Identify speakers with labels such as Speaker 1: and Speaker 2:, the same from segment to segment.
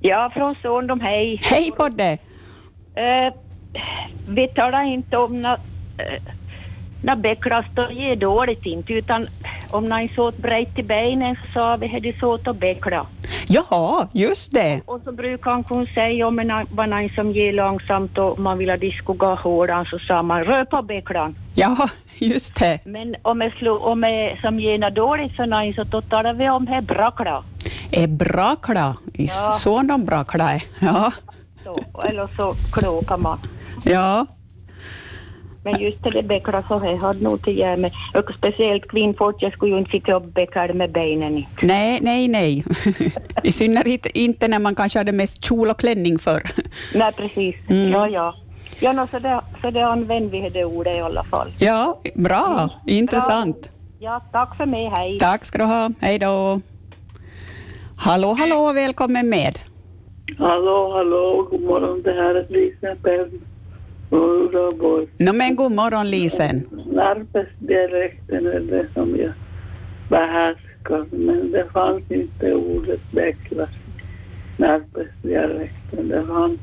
Speaker 1: Ja, från Sundom, hej.
Speaker 2: Hej på dig!
Speaker 1: Eh, vi talar inte om när eh, när bäcklast är dåligt inte, utan om när en såt brejt i benen så sa vi att det såt att bäckla.
Speaker 2: Jaha, just det.
Speaker 1: Och så brukar han kunna säga om en var någon som ger långsamt och man vill att disco gå hårdan så sa man röpa bäcklan.
Speaker 2: Ja, just det.
Speaker 1: Men om jag slog, om jag som ger något dåligt för någon så då talar vi om här brackla.
Speaker 2: Är brakla.
Speaker 1: Ja.
Speaker 2: Så de brakla är. Ja.
Speaker 1: Så, eller så klåkar man.
Speaker 2: ja.
Speaker 1: Men just det där bäckla så här hade nog till göra med, och speciellt kvinnfolk, jag skulle ju inte sitta och bäcka det med benen i.
Speaker 2: Nej, nej, nej. I synnerhet inte när man kanske hade mest kjol och klänning förr.
Speaker 1: Nej, precis.
Speaker 2: Mm.
Speaker 1: Ja, ja. Ja, nå, så, det, så det använder vi det ordet i alla fall.
Speaker 2: Ja, bra. Intressant.
Speaker 1: Ja, tack för mig. Hej.
Speaker 2: Tack ska du ha. Hej då. Hallå, hallå, välkommen med.
Speaker 3: Hallå, hallå, god morgon. Det här är Lisa Pelm från Uleåborg.
Speaker 2: Nå men god morgon, Lisen.
Speaker 3: Närpesdialekten är det som jag behärskar, men det fanns inte ordet bäcklas i Närpesdialekten. Det fanns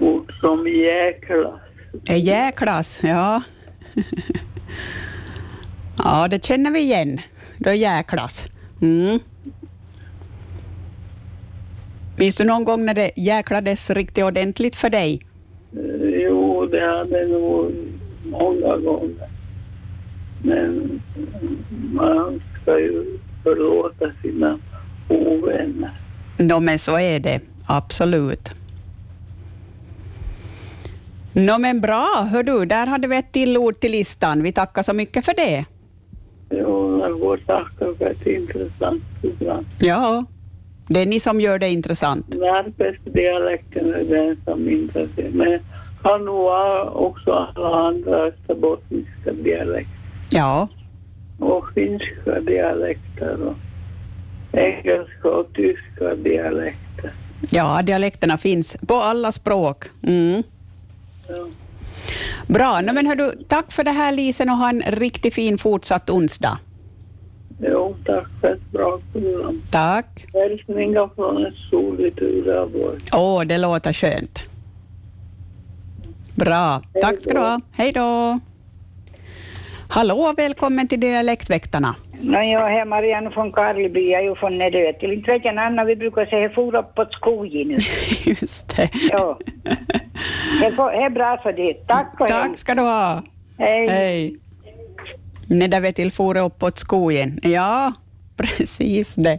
Speaker 3: ord som jäklas.
Speaker 2: Eh, Jäklas, ja. Ja, det känner vi igen. Då jäklas. Mm. Minns du någon gång när det jäklades riktigt ordentligt för dig?
Speaker 3: Eh, Jo, det hade nog många gånger. Men man ska ju förlåta sina ovänner.
Speaker 2: Nå, men så är det. Absolut. Nå, men bra. Hör du, där hade vi ett till ord till listan. Vi tackar så mycket för det.
Speaker 3: Jo, jag får tacka för ett intressant program.
Speaker 2: Ja. Det är ni som gör det intressant.
Speaker 3: Närpesdialekten är den som intresserar mig. Kan nog vara också alla andra österbottniska dialekter
Speaker 2: Ja.
Speaker 3: och finska dialekter och engelska och tyska dialekter.
Speaker 2: Ja, dialekterna finns på alla språk. Mm.
Speaker 3: Ja.
Speaker 2: Bra. Nå, men hör du, tack för det här, Lisen, och ha en riktigt fin fortsatt onsdag.
Speaker 3: Jo, tack för ett bra program.
Speaker 2: Tack.
Speaker 3: Hälsningar från ett soligt Uleåborg.
Speaker 2: Åh, det låter skönt. Bra. Tack ska du ha. Hej då. Hallå, välkommen till Dialektväktarna.
Speaker 4: Nå, jag är Marianne från Karleby, jag är ju från Närö. Till inte vet jag någon annan, vi brukar säga for uppåt skogen nu.
Speaker 2: Just det.
Speaker 4: Ja. Det får- det är bra för det. Tack och
Speaker 2: Tack ska du ha.
Speaker 4: Hej.
Speaker 2: Hej. Nej, där vi till for uppåt skogen. Ja, precis det.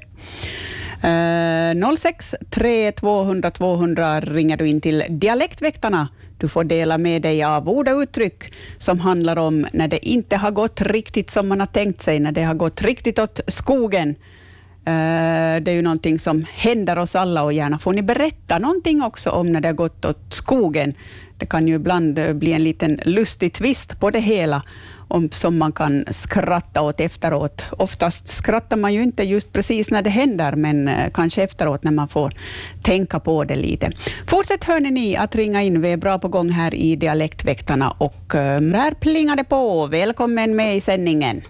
Speaker 2: Uh, 063 200 200 ringer du in till Dialektväktarna. Du får dela med dig av ord och uttryck som handlar om när det inte har gått riktigt som man har tänkt sig, när det har gått riktigt åt skogen. Eh, Det är ju någonting som händer oss alla och gärna får ni berätta någonting också om när det har gått åt skogen. Det kan ju ibland eh, bli en liten lustig twist på det hela om, som man kan skratta åt efteråt. Oftast skrattar man ju inte just precis när det händer, men eh, kanske efteråt när man får tänka på det lite. Fortsätt hörni ni att ringa in. Vi är bra på gång här i Dialektväktarna och eh, där plingar det på. Välkommen med i sändningen.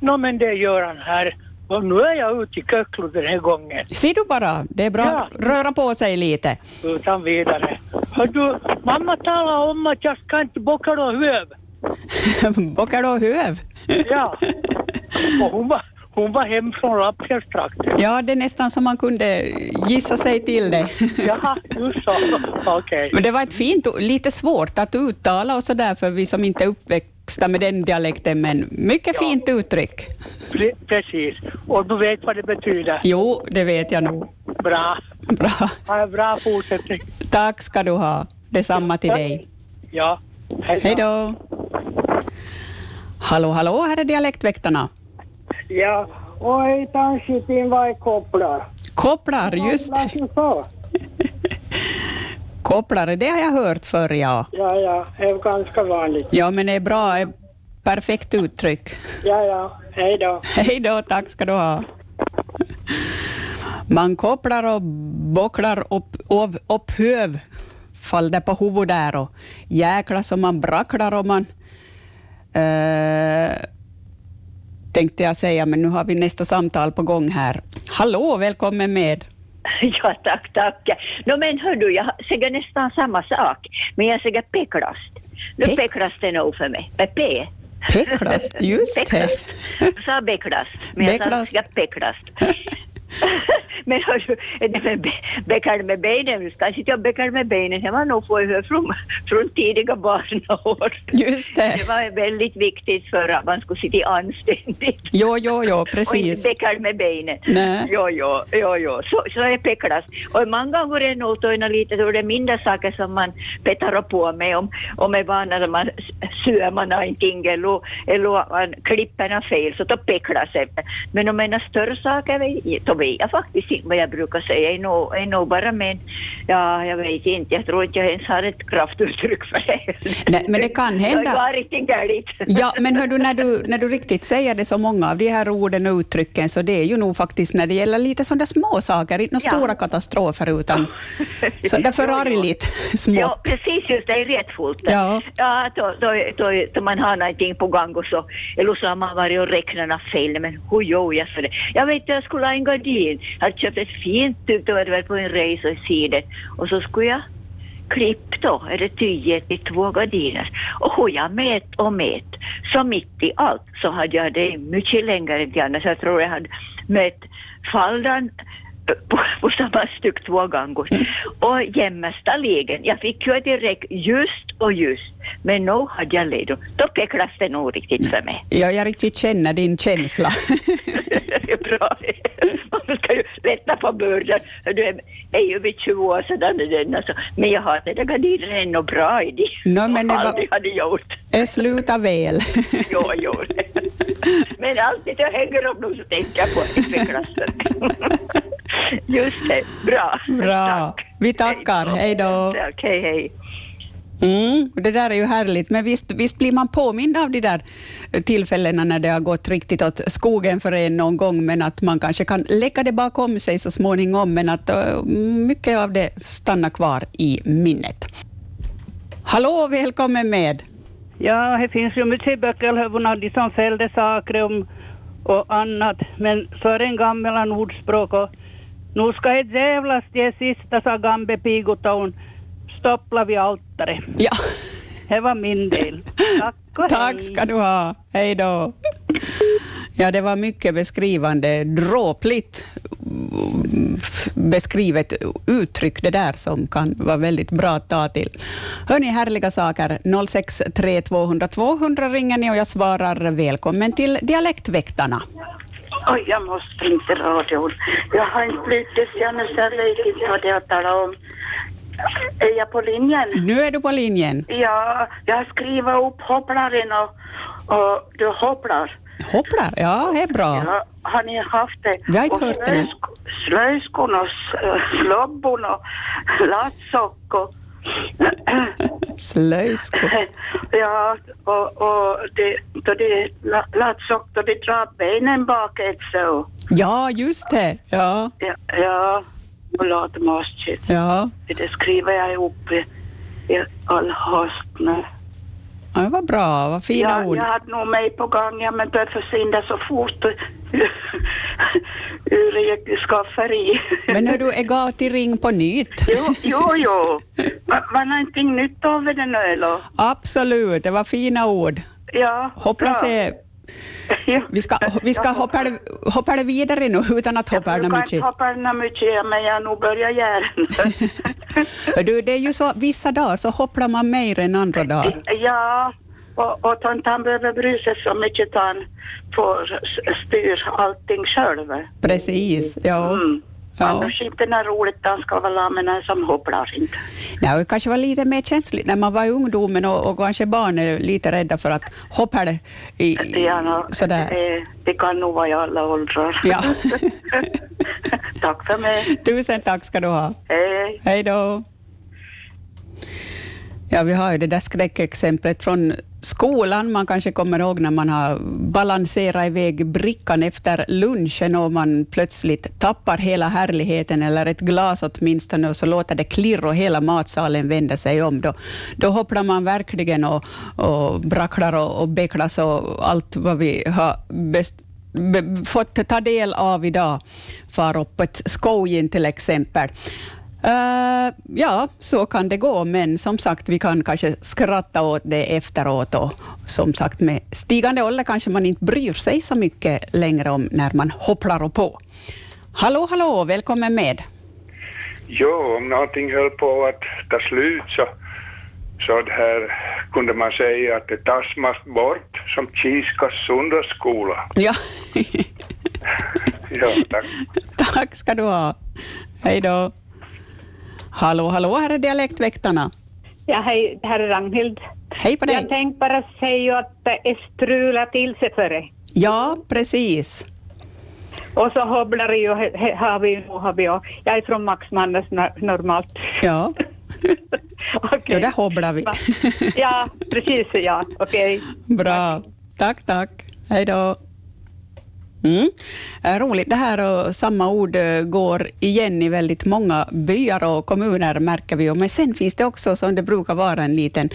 Speaker 5: Nå men det är Göran här. Och nu är jag ute i Köklo den här gången,
Speaker 2: Ser du bara, det är bra
Speaker 5: Ja.
Speaker 2: att röra på sig lite.
Speaker 5: utan vidare. Hör du, mamma talar om att jag ska inte bocka någon höv.
Speaker 2: Bockar du höv?
Speaker 5: Ja. Och hon var, hon var hem från Lappfjällstrakten.
Speaker 2: Ja, det är nästan som man kunde gissa sig till det.
Speaker 5: Jaha, just så. Okej.
Speaker 2: Men det var ett fint och lite svårt att uttala och så där för vi som inte är uppväxta med den dialekten, men mycket fint uttryck.
Speaker 5: Pre- Precis. Och du vet vad det betyder.
Speaker 2: Jo, det vet jag nog.
Speaker 5: Bra.
Speaker 2: Bra.
Speaker 5: Ha en bra fortsättning.
Speaker 2: Tack ska du ha. Detsamma till dig.
Speaker 5: Ja.
Speaker 2: Hej då. Hallå, hallå, här är Dialektväktarna.
Speaker 4: Ja. Och hej, tanskitin, vad är kopplar?
Speaker 2: Kopplar, just det.
Speaker 4: så.
Speaker 2: Kopplar, det har jag hört förr, ja.
Speaker 4: Ja, ja, det är ganska vanligt.
Speaker 2: Ja, men det är bra. ett Perfekt uttryck.
Speaker 4: Ja, ja, hej då.
Speaker 2: Hej då, tack ska du ha. Man kopplar och bocklar upp, upp, upp höv, faller på huvudet där och jäklar som man bracklar och man... Eh, tänkte jag säga, men nu har vi nästa samtal på gång här. Hallå, välkommen med.
Speaker 1: Ja, tack, tack. No, men hör du, jag säger nästan samma sak, men jag säger pekrast. Nu
Speaker 2: Pe-
Speaker 1: pekrast är nog för mig. Med P.
Speaker 2: Pekrast, just det.
Speaker 1: Pekrast. Jag sa bekrast, men jag sa
Speaker 2: Bekrast.
Speaker 1: jag pekrast. men hör du, är det med be- bäckar med benen, nu ska inte jag bäckar med benen, det var nog får jag höra från, från tidiga barnaår.
Speaker 2: Just det.
Speaker 1: Det var väldigt viktigt för att man skulle sitta anständigt.
Speaker 2: Jo, jo, jo,
Speaker 1: Och inte
Speaker 2: precis.
Speaker 1: pekar med benen.
Speaker 2: Nej.
Speaker 1: Jo, jo, jo, jo. Så, så är peklas. Och många gånger är nog tojna lite så det är mindre saker som man petar på med om, om är vana när man s- syr man någonting eller, eller man klipper något fel så då peklas det. Men om det är några större saker vet- då vet jag faktiskt inte vad jag brukar säga. Jag är nog- är nog bara men ja, jag vet inte. Jag tror inte jag ens har ett kraftuttryck för det.
Speaker 2: Nej, men det kan
Speaker 1: Jag
Speaker 2: hända.
Speaker 1: har riktigt galet.
Speaker 2: Ja, men hör du, när du, när du riktigt säger det så många av de här orden och uttrycken, så det är ju nog faktiskt när det gäller lite sådana små saker, inte några
Speaker 1: Ja.
Speaker 2: stora katastrofer, utan sådana förargligt
Speaker 1: Ja,
Speaker 2: smått.
Speaker 1: precis just det, är rättfullt.
Speaker 2: Ja.
Speaker 1: ja då, då, då, då man har någonting på gång och så, eller så har man varit och räknat något fel, men hur gör jag för det? Jag vet jag skulle ha en gardin, jag hade köpt ett fint tyg, då var det väl på en resa i sidan, och så skulle jag klippa då, eller tyget i två gardiner. Och hur jag mät och mät, så mitt i allt så hade jag det mycket längre än de andra, så jag tror jag hade mätt fallran på, på samma styck två gånger. Och jämmersta lägen, jag fick ju direkt just och just. Men nu hade jag ledo. Då peklas det nog riktigt för mig.
Speaker 2: Ja, jag riktigt känner din känsla.
Speaker 1: Det är Bra. Man ska ju lätta på bördan. Det är- är ju vid 20 år sedan det den alltså. Men jag har den där gardinen ändå bra i det.
Speaker 2: Nå, men det var-
Speaker 1: Aldrig hade gjort.
Speaker 2: Jag slutar väl.
Speaker 1: Jag gör det. Men alltid jag hänger upp dem så tänker jag på att det peklas för mig. Just det, bra.
Speaker 2: Bra. Vi tackar. Hej då.
Speaker 1: Tack, hej hej.
Speaker 2: Mm, det där är ju härligt, men visst, visst blir man påmind av de där tillfällena när det har gått riktigt åt skogen för en någon gång, men att man kanske kan lägga det bakom sig så småningom, men att eh, mycket av det stannar kvar i minnet. Hallå, välkommen med!
Speaker 6: Ja, det finns ju mycket böcker hövuna, de som fällde saker om och annat. Men för en gamla ordspråk och nu ska det jävlas det sista, sa gambe pigoton. Stoppla vid altaret.
Speaker 2: Ja,
Speaker 6: Det var min del. Tack och
Speaker 2: tack
Speaker 6: hej.
Speaker 2: ska du ha. Hej då! Ja, det var mycket beskrivande, dråpligt mm, f- beskrivet uttryck det där som kan vara väldigt bra att ta till. Hörni, härliga saker. 063 200 200 ringer ni och jag svarar välkommen till Dialektväktarna.
Speaker 7: Oj, jag måste inte radion. Jag har inte blivit Janne, så jag vet inte vad det har talat om. Är jag på linjen?
Speaker 2: Nu är du på linjen.
Speaker 7: Ja, jag har skrivit upp hopplaren och, och du hopplar.
Speaker 2: Hopplar, ja, det är bra.
Speaker 7: Ja, har ni haft det?
Speaker 2: Vi har inte
Speaker 7: Och
Speaker 2: hört det, nej.
Speaker 7: slösk- Slöjskon och eh, slobbon och latsock och...
Speaker 2: Slöjsko.
Speaker 7: Ja, och, och det, då det latsock, då det drar benen bakåt så.
Speaker 2: Ja, just det. Ja,
Speaker 7: Ja, ja och latmaskigt.
Speaker 2: ja.
Speaker 7: Det skriver jag ihop i, i all hast nu.
Speaker 2: ja det var bra. Vad fina
Speaker 7: Jag,
Speaker 2: ord.
Speaker 7: jag hade nog mig på gång, ja, men började försvinna så fort ur eget skafferi.
Speaker 2: Men hör du, egal till ring på nytt.
Speaker 7: jo, jo, jo. Va- Var det någonting nytt av det nu eller?
Speaker 2: Absolut, det var fina ord.
Speaker 7: Ja.
Speaker 2: Hoppas
Speaker 7: bra.
Speaker 2: det.
Speaker 7: Ja.
Speaker 2: Vi ska, vi ska
Speaker 7: Jag
Speaker 2: hoppa, hoppa det vidare nu utan att hoppa
Speaker 7: Jag
Speaker 2: över
Speaker 7: brukar inte
Speaker 2: mycket.
Speaker 7: hoppa ärna mycket, men jag har nog börjat göra det.
Speaker 2: Hör Du, det är ju så vissa dagar så hopplar man mer än andra dagar.
Speaker 7: Ja, och, och tant han behöver bry sig så mycket att han får s- styr allting själv.
Speaker 2: Precis, ja.
Speaker 7: Mm.
Speaker 2: ja.
Speaker 7: Annars inte när roligt han ska väl ha, men han som hopplar inte.
Speaker 2: Nej, och det kanske var lite mer känsligt när man var i ungdomen och, och kanske barn är lite rädda för att hoppa det i,
Speaker 7: Det, är nog-
Speaker 2: sådär.
Speaker 7: det, det kan nog vara i alla åldrar.
Speaker 2: Ja.
Speaker 7: Tack för mig.
Speaker 2: Tusen tack ska du ha.
Speaker 7: Hej.
Speaker 2: Hej då! Ja, vi har ju det där skräckexemplet från skolan. Man kanske kommer ihåg när man har balanserat iväg brickan efter lunchen och man plötsligt tappar hela härligheten, eller ett glas åtminstone, och så låter det klirr och hela matsalen vänder sig om. Då, då hopplar man verkligen och, och bracklar och, och becklas och allt vad vi har best, be- fått ta del av idag, faroppet Skojin till exempel. Eh, ja, så kan det gå, men som sagt, vi kan kanske skratta åt det efteråt och som sagt, med stigande ålder kanske man inte bryr sig så mycket längre om när man hopplar och på. Hallå, hallå, välkommen med.
Speaker 8: Jo, om någonting höll på att ta slut så, så det här kunde man säga att det tasmas bort som Kiskas söndagsskola.
Speaker 2: Ja,
Speaker 8: Ja, tack.
Speaker 2: tack ska du ha. Hej då. Hallå, hallå, här är Dialektväktarna.
Speaker 9: Ja, hej, det här är Ragnhild.
Speaker 2: Hej på
Speaker 9: Jag
Speaker 2: dig.
Speaker 9: tänkte bara säga att det är strula till sig för det.
Speaker 2: Ja, precis.
Speaker 9: Och så hobblar det ju, he- he- har vi nu, har vi ju. Jag är från Maxmannes no- normalt.
Speaker 2: Ja,
Speaker 9: Okej.
Speaker 2: ja där hobblar vi.
Speaker 9: Va? ja, precis ja, okej.
Speaker 2: Bra. Tack, tack. Hej då. Mm. Eh, Roligt. Det här och samma ord eh, går igen i väldigt många byar och kommuner märker vi. ju. Men sen finns det också, som det brukar vara, en liten,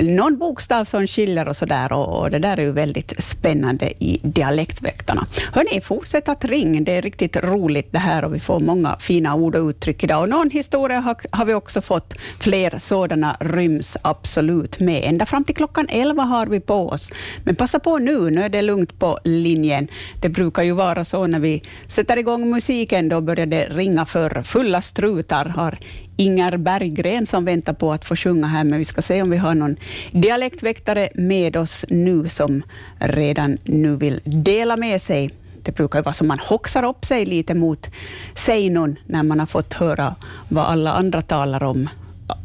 Speaker 2: någon bokstav som skiljer och så där. Och, och det där är ju väldigt spännande i dialektväktarna. Hörni, fortsätt att ring. Det är riktigt roligt det här och vi får många fina ord och uttryck idag. Och någon historia har, har vi också fått. Fler sådana ryms absolut med. Ända fram till klockan 11 har vi på oss. Men passa på nu, nu är det lugnt på linjen. Det brukar ju vara så när vi sätter igång musiken, då börjar det ringa för fulla strutar. Har Ingar Berggren som väntar på att få sjunga här, men vi ska se om vi har någon dialektväktare med oss nu som redan nu vill dela med sig. Det brukar ju vara så man hoxar upp sig lite mot seinon när man har fått höra vad alla andra talar om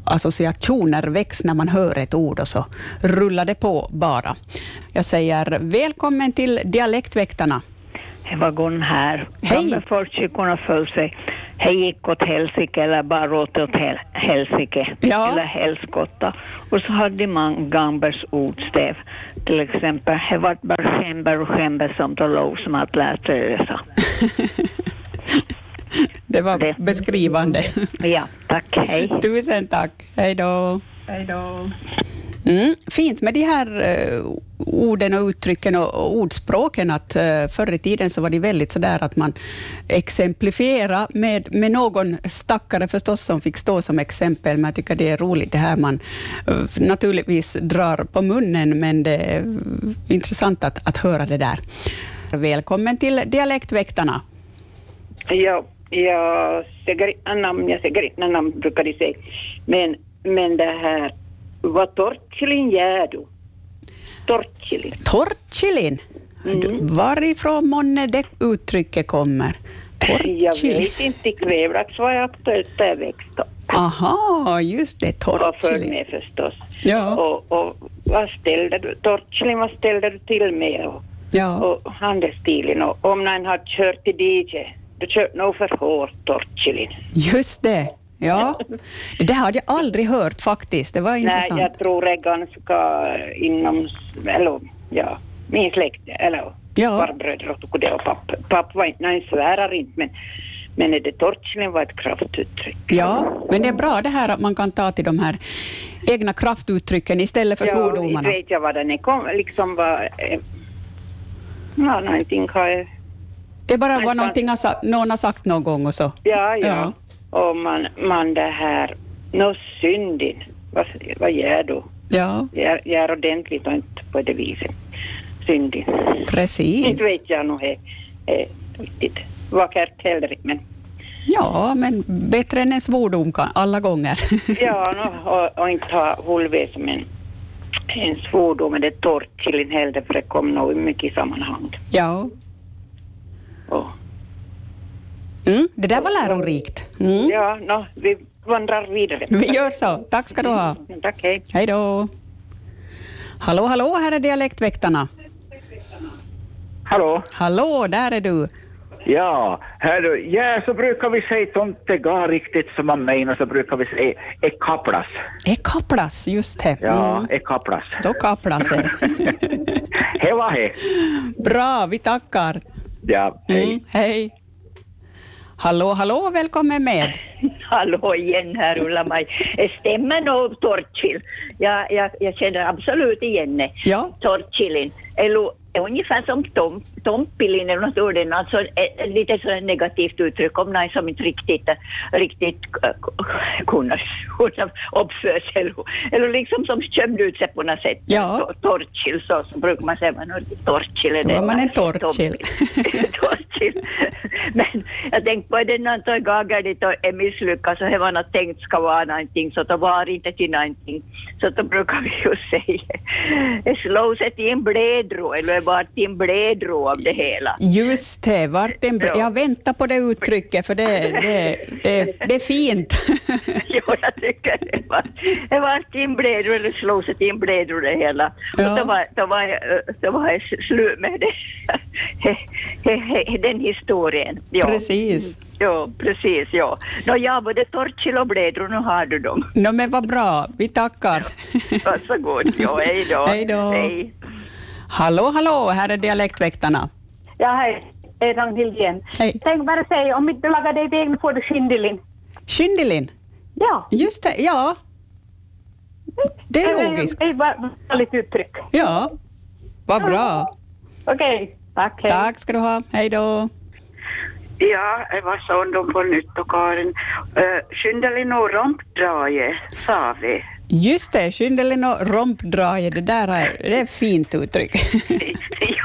Speaker 2: associationer väcks när man hör ett ord och så rullar det på bara. Jag säger välkommen till Dialektväktarna.
Speaker 10: Det var Gun här.
Speaker 2: Hej.
Speaker 10: De är förtjykorna föll sig. Hej gick åt helsike eller bara åt åt hel- helsike.
Speaker 2: Ja.
Speaker 10: Eller helskotta. Och så hade man Gambers ordstäv. Till exempel, det vart bara skämber och skämber som de låg som att lärt sig resa.
Speaker 2: Det var
Speaker 10: Det.
Speaker 2: beskrivande.
Speaker 10: Ja, tack. Hej.
Speaker 2: Tusen tack. Hej då.
Speaker 10: Hej då.
Speaker 2: Mm, fint med de här eh, orden och uttrycken och, och ordspråken. Att, eh, förr i tiden så var det väldigt sådär att man exemplifierade med, med någon stackare förstås som fick stå som exempel, men jag tycker det är roligt det här man eh, naturligtvis drar på munnen, men det är eh, intressant att, att höra det där. Välkommen till Dialektväktarna.
Speaker 4: Ja, jag säger inte namn, jag säger inte namn brukar de säga. Men, men det här, vad tortchilin gör du? Tortchilin.
Speaker 2: Tortchilin.
Speaker 4: Mm.
Speaker 2: Du- Varifrån månne det uttrycket kommer?
Speaker 4: Jag
Speaker 2: Tortchilin.
Speaker 4: vet inte, i Kvävlax var jag aktuellt där jag växte upp.
Speaker 2: Aha, just det,
Speaker 4: Var för
Speaker 2: tortchilin.
Speaker 4: mig förstås.
Speaker 2: Ja.
Speaker 4: Och, och vad ställde du, tortchilin, vad ställde du till med? Och,
Speaker 2: Ja,
Speaker 4: och handelsstilen och om någon har kört till DJ, du kört nog för hårt tortchilin.
Speaker 2: just det. Ja. Det där hade jag aldrig hört faktiskt. Det var
Speaker 4: Nej,
Speaker 2: intressant.
Speaker 4: jag tror det är ganska inom, eller ja, min släkt, eller
Speaker 2: Ja.
Speaker 4: farbröder och tog det och pappa. Pappa var inte, nej, svärar inte, men, men är det tortchilin var ett kraftuttryck.
Speaker 2: Ja, men det är bra det här att man kan ta till de här egna kraftuttrycken istället för
Speaker 4: inte
Speaker 2: svordomarna.
Speaker 4: vet jag vad den är, kom, liksom vad, eh, ja, någonting har jag,
Speaker 2: Det är bara
Speaker 4: Nej,
Speaker 2: vad
Speaker 4: fan.
Speaker 2: någonting har sagt, någon har sagt någon gång och så.
Speaker 4: ja,
Speaker 2: Ja.
Speaker 4: ja, och man, man det här, nå syndin, vad, vad gör du?
Speaker 2: Ja,
Speaker 4: Gör, gör ordentligt och inte på det viset, syndin.
Speaker 2: precis.
Speaker 4: Inte vet jag nog eh, eh, riktigt vackert heller, men
Speaker 2: Ja, men bättre än en svordom kan, alla gånger.
Speaker 4: ja, no, och, och inte ha Holve som en, en svordom, men det är torrt till en heller, för det kom nog mycket i sammanhang.
Speaker 1: Mm.
Speaker 2: ja.
Speaker 4: Och,
Speaker 2: Mm, det där var lärorikt. Mm.
Speaker 4: Ja, no, vi vandrar vidare.
Speaker 2: Vi gör så. Tack ska du ha.
Speaker 4: Tack, hej.
Speaker 2: Hej då. Hallå, hallå, här är Dialektväktarna.
Speaker 11: Hallå?
Speaker 2: Hallå, där är du.
Speaker 11: Ja, här du. Ja, så brukar vi säga tomtegar riktigt som man menar, så brukar vi säga ekaplas.
Speaker 2: E kaplas, just det.
Speaker 11: Ja,
Speaker 2: Mm.
Speaker 11: ekaplas.
Speaker 2: Då kaplas det.
Speaker 11: He var he.
Speaker 2: Bra, vi tackar.
Speaker 11: Ja, hej.
Speaker 2: Mm, hej. Hallå, hallå, välkommen med.
Speaker 1: Hallå igen här Ulla-Maj. Stämmer nog torrchill? Jag, jag, jag känner absolut igen det.
Speaker 2: Ja.
Speaker 1: Torrchillin. Eller ungefär som tom, no tomppilin eller något sådant. Alltså eh, lite så här negativt uttryck om någon som inte riktigt, riktigt eh, kunde kunde uppföra sig. Eller, eller liksom som skämde ut sig på något sätt.
Speaker 2: Ja.
Speaker 1: Tor- Torrchill, så, så brukar man säga. Man har torrchill. är
Speaker 2: Då
Speaker 1: det
Speaker 2: var man
Speaker 1: där.
Speaker 2: en torrchill.
Speaker 1: Men jag tänkte på den när jag gaggar dit och är misslyckad så har man har tänkt ska vara någonting så det var inte till någonting. Så då brukar vi ju säga slå sig till en blädro eller bara till en blädro av det hela.
Speaker 2: Just det, vart en bra.
Speaker 1: Ja.
Speaker 2: Jag väntar på det uttrycket, för det, det, det, det är fint.
Speaker 1: jo, jag tycker det var, det var till en blädro eller slå sig till en blädro det hela.
Speaker 2: Ja.
Speaker 1: Och då var, då var, jag, eh, då var jag slut med det. He- he- he- den historien. Ja.
Speaker 2: Precis.
Speaker 1: Ja, precis. Ja. Nå, ja, både torrchill och blädror, nu har du dem.
Speaker 2: No, men vad bra, vi tackar.
Speaker 1: Varsågod. Ja, hej då.
Speaker 2: Hej då.
Speaker 1: Hej.
Speaker 2: Hallå, hallå, här är Dialektväktarna.
Speaker 12: Ja, hej. Det är Ragnhild igen.
Speaker 2: Hej.
Speaker 12: Tänk bara säga, om inte du lagar dig degen får du skindelin.
Speaker 2: Kyndilin.
Speaker 12: Ja.
Speaker 2: Just det, ja. Det är logiskt.
Speaker 12: Det är ett eh, vanligt uttryck.
Speaker 2: Ja, vad bra.
Speaker 12: Okej, tack. Hej.
Speaker 2: Tack ska du ha, hej då.
Speaker 7: Ja, jag var sån på nytt och Karin. Uh, Skyndelin och rompdrage, sa vi.
Speaker 2: Just det, Kyndilin och rompdrage, det där är, det är ett fint uttryck.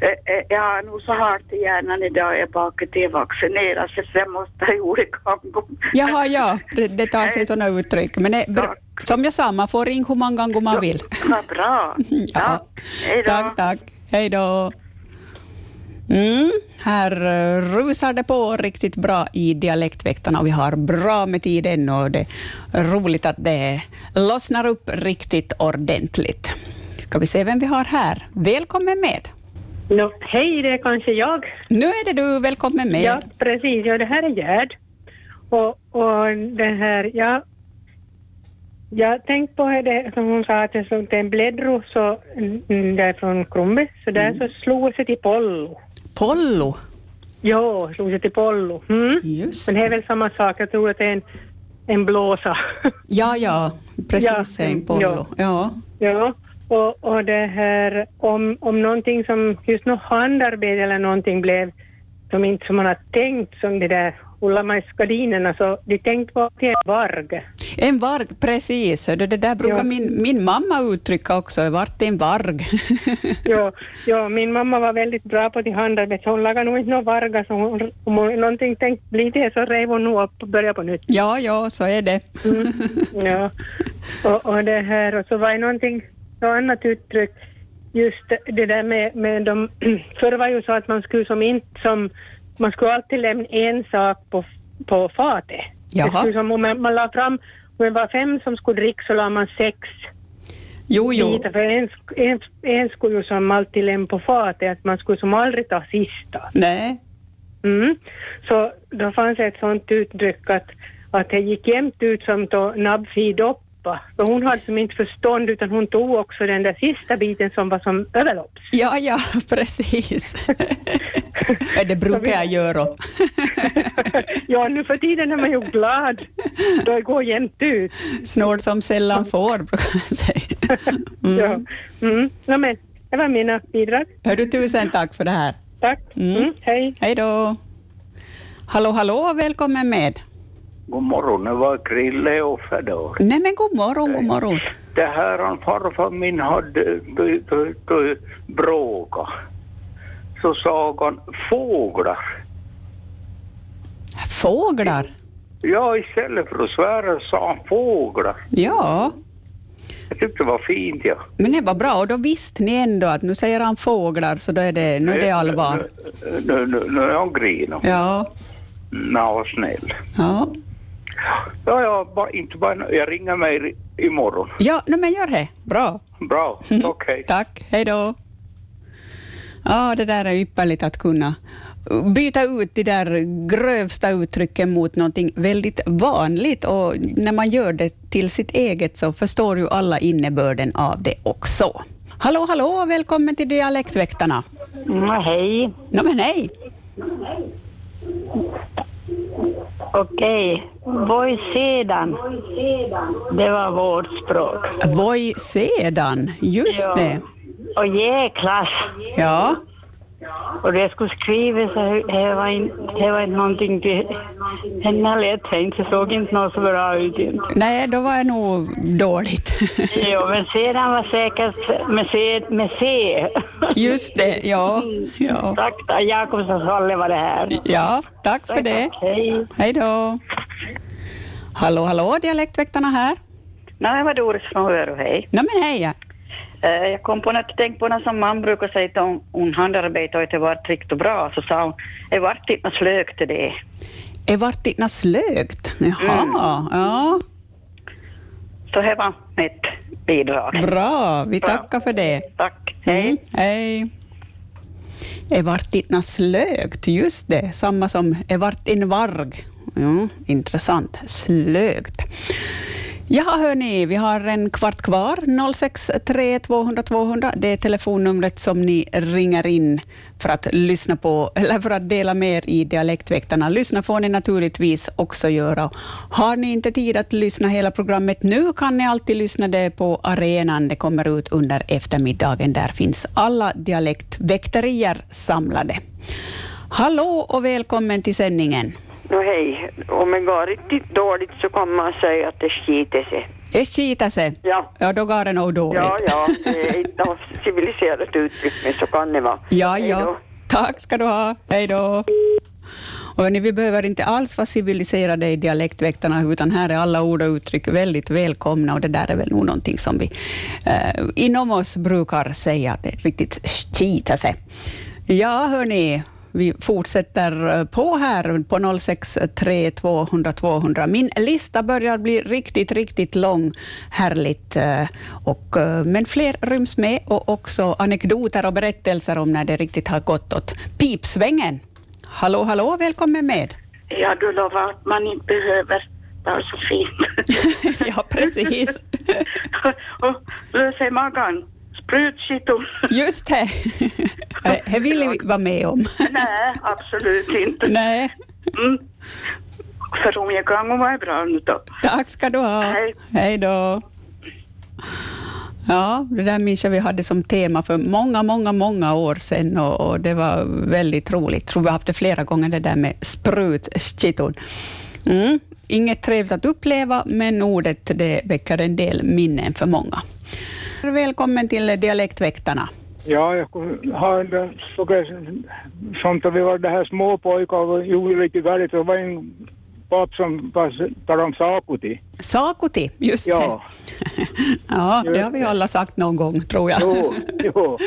Speaker 7: Eh, eh, Jag har nog så hårt i hjärnan idag, jag bakar till vaccinerad så jag måste ha gjort igång.
Speaker 2: Jaha, ja, det, det tar sig sådana uttryck. Men det, är bra. som jag sa, man får ringa hur många gånger man vill.
Speaker 7: Vad bra.
Speaker 2: Ja. Tack, tack. Hej då. Mm, här eh, rusar det på riktigt bra i Dialektväktarna och vi har bra med tid ännu och det är roligt att det lossnar upp riktigt ordentligt. Ska vi se vem vi har här? Välkommen med.
Speaker 13: Nå, hej, det är kanske jag.
Speaker 2: Nu är det du, välkommen med.
Speaker 13: Ja, precis. Ja, det här är Gerd. Och, och det här, ja. Jag tänkte på det som hon sa, att det slog till en bläddro så, mm, därifrån Krumby, så där så slog jag sig till Pollo.
Speaker 2: Pollo?
Speaker 13: Ja, slog sig till Pollo. Mm.
Speaker 2: Just
Speaker 13: Men det är väl samma sak, jag tror att det är en, en blåsa.
Speaker 2: Ja, ja, precis, en pollo. Ja.
Speaker 13: Ja, och, och det här om, om någonting som just något handarbete eller någonting blev som inte som man har tänkt som det där Ulla-Majs gardinerna så de tänkte på att det är varg.
Speaker 2: En varg, precis. Det det där brukar
Speaker 13: Ja.
Speaker 2: min, min mamma uttrycka också, vart en varg.
Speaker 13: ja, ja, min mamma var väldigt bra på det handarbete så hon lagade nog inte några vargar så hon, om hon någonting tänkte bli det så rev hon nog upp och började på nytt.
Speaker 2: Ja, ja, så är det.
Speaker 13: Mm, ja. Och, och det här, och så var det någonting, något annat uttryck, just det där med, med de, förr var ju så att man skulle som inte som, man skulle alltid lämna en sak på, på fatet. Det
Speaker 2: Jaha.
Speaker 13: skulle Som, om man, man la fram, om det var fem som skulle dricka så la man sex
Speaker 2: Jo, jo.
Speaker 13: bitar, för en, sk- en, en skulle ju som alltid lämna på fatet, att man skulle som aldrig ta sista.
Speaker 2: Nej.
Speaker 13: Mm. Så då fanns ett sånt uttryck att, att det gick jämnt ut som då Nabfi doppa. Så hon hade som inte förstånd utan hon tog också den där sista biten som var som överlopps.
Speaker 2: Ja, ja, precis. Men det brukar jag göra.
Speaker 13: Ja, nu för tiden är man ju glad. Då går jämnt ut.
Speaker 2: Snål som sällan får, brukar jag säga.
Speaker 13: Ja. Mm. Ja, men, det var mina bidrag.
Speaker 2: Hör du, tusen tack för det här.
Speaker 13: Tack. Mm, hej.
Speaker 2: Hej då. Hallå, hallå, välkommen med.
Speaker 14: God morgon, det var Krille och Fedor.
Speaker 2: Nej, men god morgon, god morgon.
Speaker 14: Det här han farfar min hade du, du, du, bråka. Så sa han fåglar.
Speaker 2: Fåglar?
Speaker 14: Ja, istället för att svära sa han fåglar.
Speaker 2: Ja,
Speaker 14: Jag tyckte det var fint ja.
Speaker 2: men det var bra. Och då visste ni ändå att nu säger han fåglar, så då är det, nu är det allvar.
Speaker 14: Nu, nu, nu är han grinig.
Speaker 2: Ja,
Speaker 14: Nå, snäll.
Speaker 2: ja.
Speaker 14: Ja, ja, bara, inte bara, jag ringer mig i- imorgon.
Speaker 2: Ja, nej, men gör det. Bra.
Speaker 14: Bra,
Speaker 2: Mm.
Speaker 14: okej.
Speaker 2: Tack, hej då. Ja, det där är ypperligt att kunna byta ut de där grövsta uttrycken mot någonting väldigt vanligt och när man gör det till sitt eget så förstår ju alla innebörden av det också. Hallå, hallå, välkommen till Dialektväktarna.
Speaker 15: Mm, hej.
Speaker 2: Nå, men hej.
Speaker 15: Okej, voi sedan. Det var vårt språk.
Speaker 2: Voi sedan, just
Speaker 15: Ja.
Speaker 2: det.
Speaker 15: Och jäklas.
Speaker 2: Ja.
Speaker 15: Och det skulle skrivas, det var, in, det var inte någonting till... Den lätt inte, det såg inte något så bra ut. inte.
Speaker 2: Nej, då var jag nog dåligt.
Speaker 15: Jo, men sedan var säkert med C. Med C.
Speaker 2: Just det, ja. ja.
Speaker 15: Tack, Jakobsson var det här.
Speaker 2: Ja, tack för
Speaker 15: Tack,
Speaker 2: det.
Speaker 15: tack. Hej.
Speaker 2: Hej då. Hallå, hallå, dialektväktarna här.
Speaker 16: Nej, vad Doris från Hörö, hej.
Speaker 2: Nej, men hej. ja.
Speaker 16: Eh, Jag kom på något, tänk på något som man brukar säga att om, om handarbete inte varit riktigt bra, så sa hon, det vart inte något slögt till det.
Speaker 2: Är vart dina slögt? Jaha, ja.
Speaker 16: Så det var mitt bidrag.
Speaker 2: Bra, vi tackar för det.
Speaker 16: Tack,
Speaker 2: hej. Mm, hej. Är vart dina slögt? Just det, samma som är vart in varg. Ja, intressant. Slögt. Jaha, hörni, vi har en kvart kvar. 063 200 200, det är telefonnumret som ni ringer in för att lyssna på, eller för att dela med er i Dialektväktarna. Lyssna får ni naturligtvis också göra. Har ni inte tid att lyssna hela programmet nu kan ni alltid lyssna det på arenan. Det kommer ut under eftermiddagen. Där finns alla dialektväkterier samlade. Hallå och välkommen till sändningen.
Speaker 17: No hej, om det går riktigt dåligt så kan man säga att det skiter sig.
Speaker 2: Det skiter sig.
Speaker 17: Ja.
Speaker 2: ja, då går det nog dåligt.
Speaker 17: Ja, ja, det är inte av civiliserat uttryck, men så kan det vara.
Speaker 2: Ja,
Speaker 17: Hej
Speaker 2: ja.
Speaker 17: då.
Speaker 2: Tack ska du ha. Hej då. Och hörni, vi behöver inte alls vara civiliserade i dialektväktarna, utan här är alla ord och uttryck väldigt välkomna och det där är väl nog någonting som vi eh, inom oss brukar säga, att det riktigt skiter sig. Ja, hörni, vi fortsätter eh, på här på 063 200 200. Min lista börjar bli riktigt, riktigt lång. Härligt. eh, Och, eh, men fler ryms med och också anekdoter och berättelser om när det riktigt har gått åt pipsvängen. Hallå, hallå, välkommen med.
Speaker 7: Ja, du lovar att man inte behöver ta så fint.
Speaker 2: ja, precis.
Speaker 7: och lös i magen. Sprutkitom.
Speaker 2: Just det. Eh, Det vill vi vara med om.
Speaker 7: Nej, absolut inte.
Speaker 2: Nej.
Speaker 7: Mm. För om jag kan vara bra nu då.
Speaker 2: Tack ska du ha.
Speaker 7: Hej.
Speaker 2: Hej då. Ja, det där minns jag vi hade som tema för många, många, många år sedan och, och det var väldigt roligt. tror vi har haft det flera gånger, det där med sprutskitton. Mm. Inget trevligt att uppleva, men ordet det väcker en del minnen för många. Välkommen till Dialektväktarna.
Speaker 18: Ja, jag har inte såg- som då vi var det här små pojkar och gjorde riktigt värdigt. Det var en papp som talade om Sakuti.
Speaker 2: Sakuti, just
Speaker 18: Ja.
Speaker 2: det. Ja, det har vi alla sagt någon gång, tror jag.
Speaker 18: Jo, jo.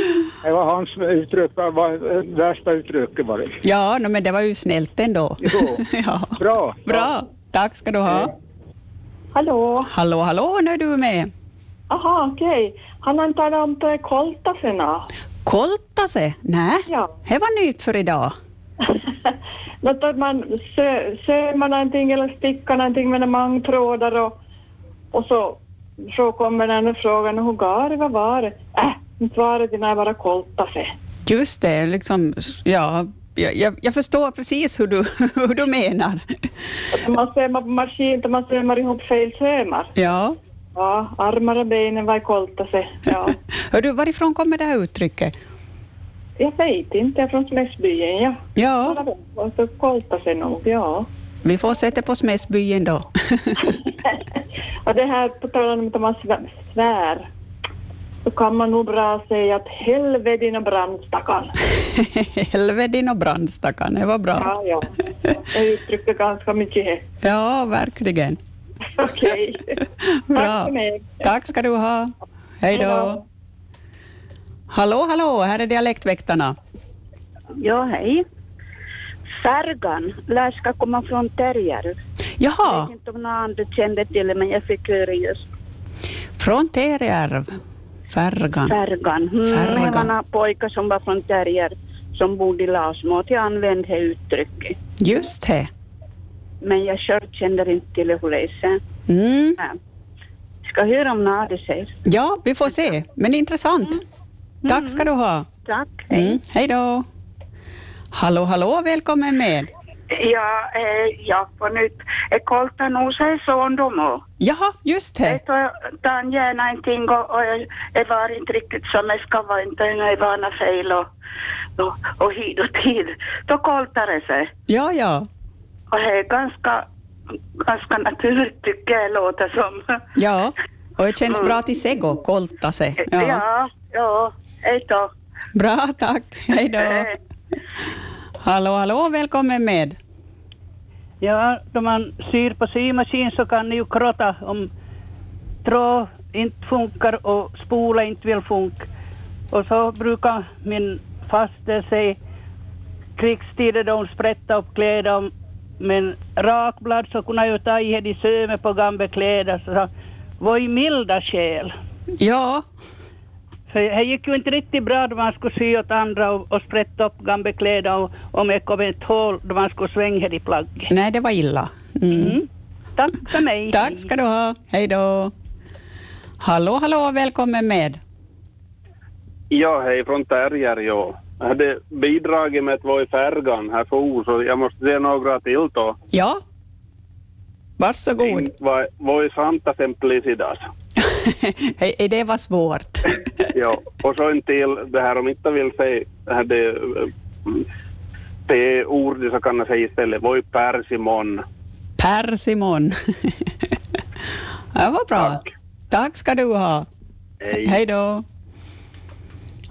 Speaker 18: Det var hans uttryck, det var eh, värsta uttrycket var det.
Speaker 2: Ja, no, men det var ju snällt ändå. ja.
Speaker 18: Bra.
Speaker 2: Bra. Tack ska du ha.
Speaker 19: Hallå?
Speaker 2: Hallå, hallå, nu är du med.
Speaker 19: Aha, okej. Han har talat om det koltasena.
Speaker 2: Koltase? Nej,
Speaker 19: Ja.
Speaker 2: det var nytt för idag.
Speaker 19: Något att man sö, sömmar någonting eller stickar någonting med mangtrådar och, och så, så kommer den här frågan hur går det, vad var det? Äh, inte var det, det är bara koltase.
Speaker 2: Just det, liksom, ja, jag, jag, jag förstår precis hur du, hur du menar.
Speaker 19: Att man sömmar på maskin och man sömmar ihop fel sömmar.
Speaker 2: Ja.
Speaker 19: Ja, armar och benen var i koltase. Ja.
Speaker 2: Hör du, varifrån kommer det här uttrycket?
Speaker 19: Jag vet inte, jag är från Smässbyen, ja.
Speaker 2: Ja,
Speaker 19: Och så koltase nog, ja.
Speaker 2: vi får sätta på Smedsbyen då.
Speaker 19: Och det här på tal om att man svär- svär, så kan man nog bra säga att helvete och brandstackarn.
Speaker 2: Helvedin och brandstackarn, det var bra.
Speaker 19: Ja, ja. Det uttrycker ganska mycket här.
Speaker 2: Ja, verkligen.
Speaker 19: Okej.
Speaker 2: Bra.
Speaker 19: för mig.
Speaker 2: Tack ska du ha. Hej
Speaker 19: Hej
Speaker 2: då.
Speaker 19: då.
Speaker 2: Hallå, hallå, här är dialektväktarna.
Speaker 20: Ja, hej. Färgan lär ska komma från terrier. Jag
Speaker 2: Jaha,
Speaker 20: vet inte om någon annan kände till det, men jag fick eh, höra just
Speaker 2: från Terjärv. Färgan.
Speaker 20: färgan. Mm, Det var
Speaker 2: Färgan.
Speaker 20: några pojkar som var från terrier som bodde i Larsmo, och jag använde det uttrycket.
Speaker 2: Just det.
Speaker 20: Men jag själv kände inte till det hur det är sen.
Speaker 2: Mm.
Speaker 20: Nej. Ska höra om någon det säger.
Speaker 2: Ja, vi får se. Men intressant.
Speaker 7: Mm.
Speaker 2: Tack ska du ha.
Speaker 20: Tack.
Speaker 2: Mm. Hej då. Hallå, hallå, välkommen med.
Speaker 7: Ja, eh, ja på nytt. Jag koltar nog sig son de och.
Speaker 2: Jaha, just det.
Speaker 7: Jag tar gärna en ting och, och jag, jag var inte riktigt som jag ska vara, inte när jag var fel och, och, och hit och tid. Då koltar det sig.
Speaker 2: Ja, ja.
Speaker 7: Och det är ganska, ganska naturligt tycker jag det låter som. Mm.
Speaker 2: Ja, och det känns bra till sig och kolta sig. Ja.
Speaker 7: ja, ja. hej då.
Speaker 2: Bra, tack. Hej då.
Speaker 7: Hej.
Speaker 2: Hallå, hallå, välkommen med.
Speaker 6: Ja, då man syr på symaskin så kan ni ju krotta om trå inte funkar och spola inte vill funka. Och så brukar min faste säga krigstider då hon sprätta upp kläder om men rakblad så kunde jag ju ta i det i söme på gamla kläder så sa vad i milda själ.
Speaker 2: Ja.
Speaker 6: För det gick ju inte riktigt bra då man skulle sy åt andra och, och sprätta upp gamla kläder och, och med kom ett hål då man skulle svänga det i plagg.
Speaker 2: Nej, det var illa. Mm.
Speaker 6: Tack för mig.
Speaker 2: Tack ska du ha. Hej då. Hallå, hallå, välkommen med.
Speaker 21: Ja, hej från Terjärjå. Jag hade bidragit med att vara i färgan här för så jag måste säga några till då.
Speaker 2: Ja, varsågod.
Speaker 21: Inte Var, var i Santa Simplicidas.
Speaker 2: Hej, hej, det var svårt.
Speaker 21: ja, och så en till det här om inte vill säga det här det, det ordet så kan jag säga istället. Var i persimon.
Speaker 2: Persimon. det var bra. Tack. ska du ha.
Speaker 21: Hej.
Speaker 2: Hej då.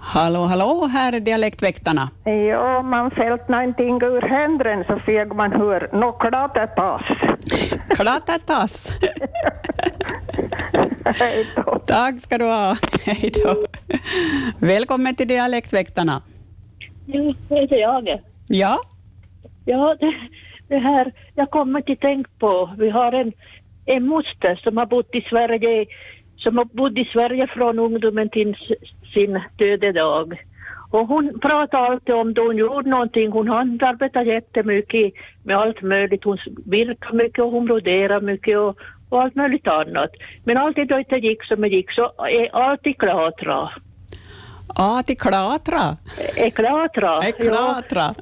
Speaker 2: Hallå, hallå, här är Dialektväktarna.
Speaker 12: Ja, man fällt någonting ur händerna så feg man hör nå klatetas.
Speaker 2: Klatatas. Tack ska du ha. Hej då. Välkommen till Dialektväktarna.
Speaker 22: Jo, det heter jag.
Speaker 2: Ja,
Speaker 22: Ja, det, det här, jag kommer till tänk på, vi har en, en moster som har bott i Sverige, som har bott i Sverige från ungdomen till s- sin dödedag. Och hon pratar alltid om då hon gjorde någonting, hon handarbetade jättemycket med allt möjligt, hon virkade mycket och hon broderade mycket och, och allt möjligt annat. Men alltid då det inte gick som det gick så är alltid klatra.
Speaker 2: A till klatra.
Speaker 22: Är klatra. Ja.
Speaker 2: Klatra.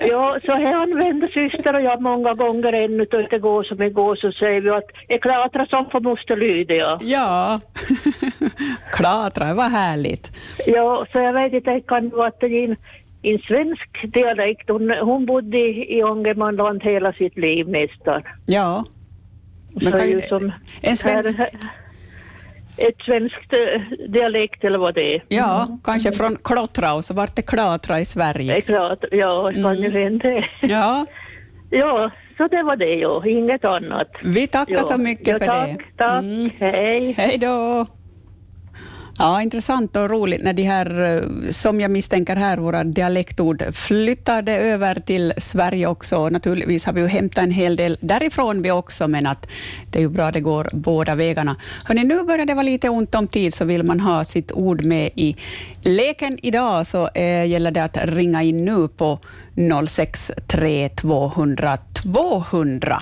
Speaker 22: Ja, så här använder syster och jag många gånger ännu då det går som det går så säger vi att är klatra som får moster lyda ja.
Speaker 2: Ja. Klatra, vad härligt.
Speaker 22: Ja, så jag vet inte, det kan vara att det är en, en svensk dialekt. Hon, hon bodde i i Ångermanland hela sitt liv nästan.
Speaker 2: Ja. Men
Speaker 22: så
Speaker 2: kan
Speaker 22: ju
Speaker 2: ju,
Speaker 22: som
Speaker 2: en svensk...
Speaker 22: här- här- ett svenskt eh, dialekt eller vad det är.
Speaker 2: Ja, kanske från klottra och så vart det klatra i Sverige.
Speaker 22: Det är klart, ja, det kan ju
Speaker 2: Mm.
Speaker 22: hända.
Speaker 2: Ja.
Speaker 22: ja, så det var det ju, inget annat.
Speaker 2: Vi tackar
Speaker 22: Ja.
Speaker 2: så mycket
Speaker 22: Ja,
Speaker 2: för
Speaker 22: tack,
Speaker 2: det. Mm.
Speaker 22: Tack, hej.
Speaker 2: Hej då. Ja, intressant och roligt när de här, eh, som jag misstänker här, våra dialektord flyttade över till Sverige också. Och Naturligtvis har vi ju hämtat en hel del därifrån vi också, men att det är ju bra det går båda vägarna. Hörrni, nu börjar det vara lite ont om tid, så vill man ha sitt ord med i leken idag så eh, gäller det att ringa in nu på 063 200 200.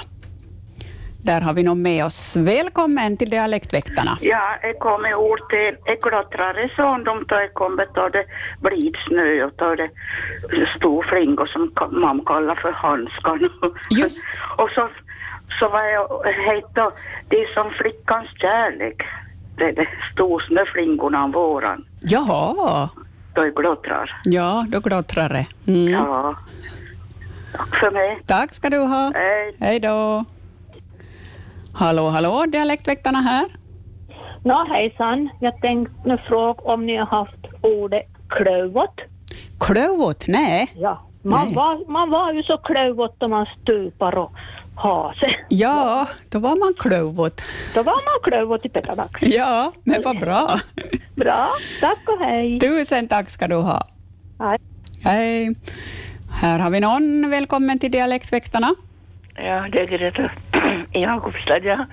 Speaker 2: Där har vi någon med oss. Välkommen till Dialektväktarna.
Speaker 7: Ja, jag kom i ord till, jag klottrade från dem då jag kom och då det blid snö och då det stor flinga som ka- mamma kallar för handskan.
Speaker 2: Just.
Speaker 7: och så, så var jag hette det är som flickans kärlek. Det, det stod snöflingorna om våren
Speaker 2: Jaha,
Speaker 7: då jag klottrar.
Speaker 2: ja, då glottrar det. Mm.
Speaker 7: Ja. Tack för mig.
Speaker 2: Tack ska du ha.
Speaker 7: Hej.
Speaker 2: Hej då. Hallå, hallå, Dialektväktarna här.
Speaker 22: Nå hejsan, jag tänkte nu fråga om ni har haft ordet klövot?
Speaker 2: Klövot, nej.
Speaker 22: Ja. Man
Speaker 2: Nej.
Speaker 22: var, man var ju så klövot då man stupar och har sig.
Speaker 2: Ja, då var man klövot.
Speaker 22: Då var man klövot i petadags.
Speaker 2: Ja, men vad bra.
Speaker 22: Bra, tack och hej.
Speaker 2: Tusen tack ska du ha.
Speaker 22: Hej.
Speaker 2: Hej. Här har vi någon. Välkommen till Dialektväktarna.
Speaker 23: Ja, det är Greta i Jakobstad. Ja.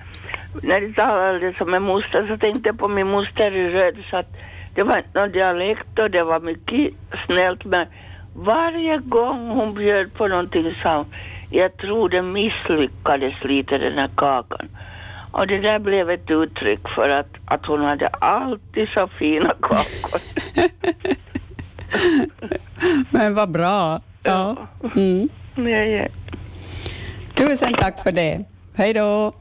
Speaker 23: När du talade som en moster så tänkte jag på min moster i Röd. Så att det var inte någon dialekt och det var mycket snällt. Men varje gång hon bjöd på någonting sa hon, jag tror det misslyckades lite den här kakan. Och det där blev ett uttryck för att, att hon hade alltid så fina kakor.
Speaker 2: Men vad bra. Ja. Mm.
Speaker 23: Ja, ja.
Speaker 2: Tusen tack för det. Hej då.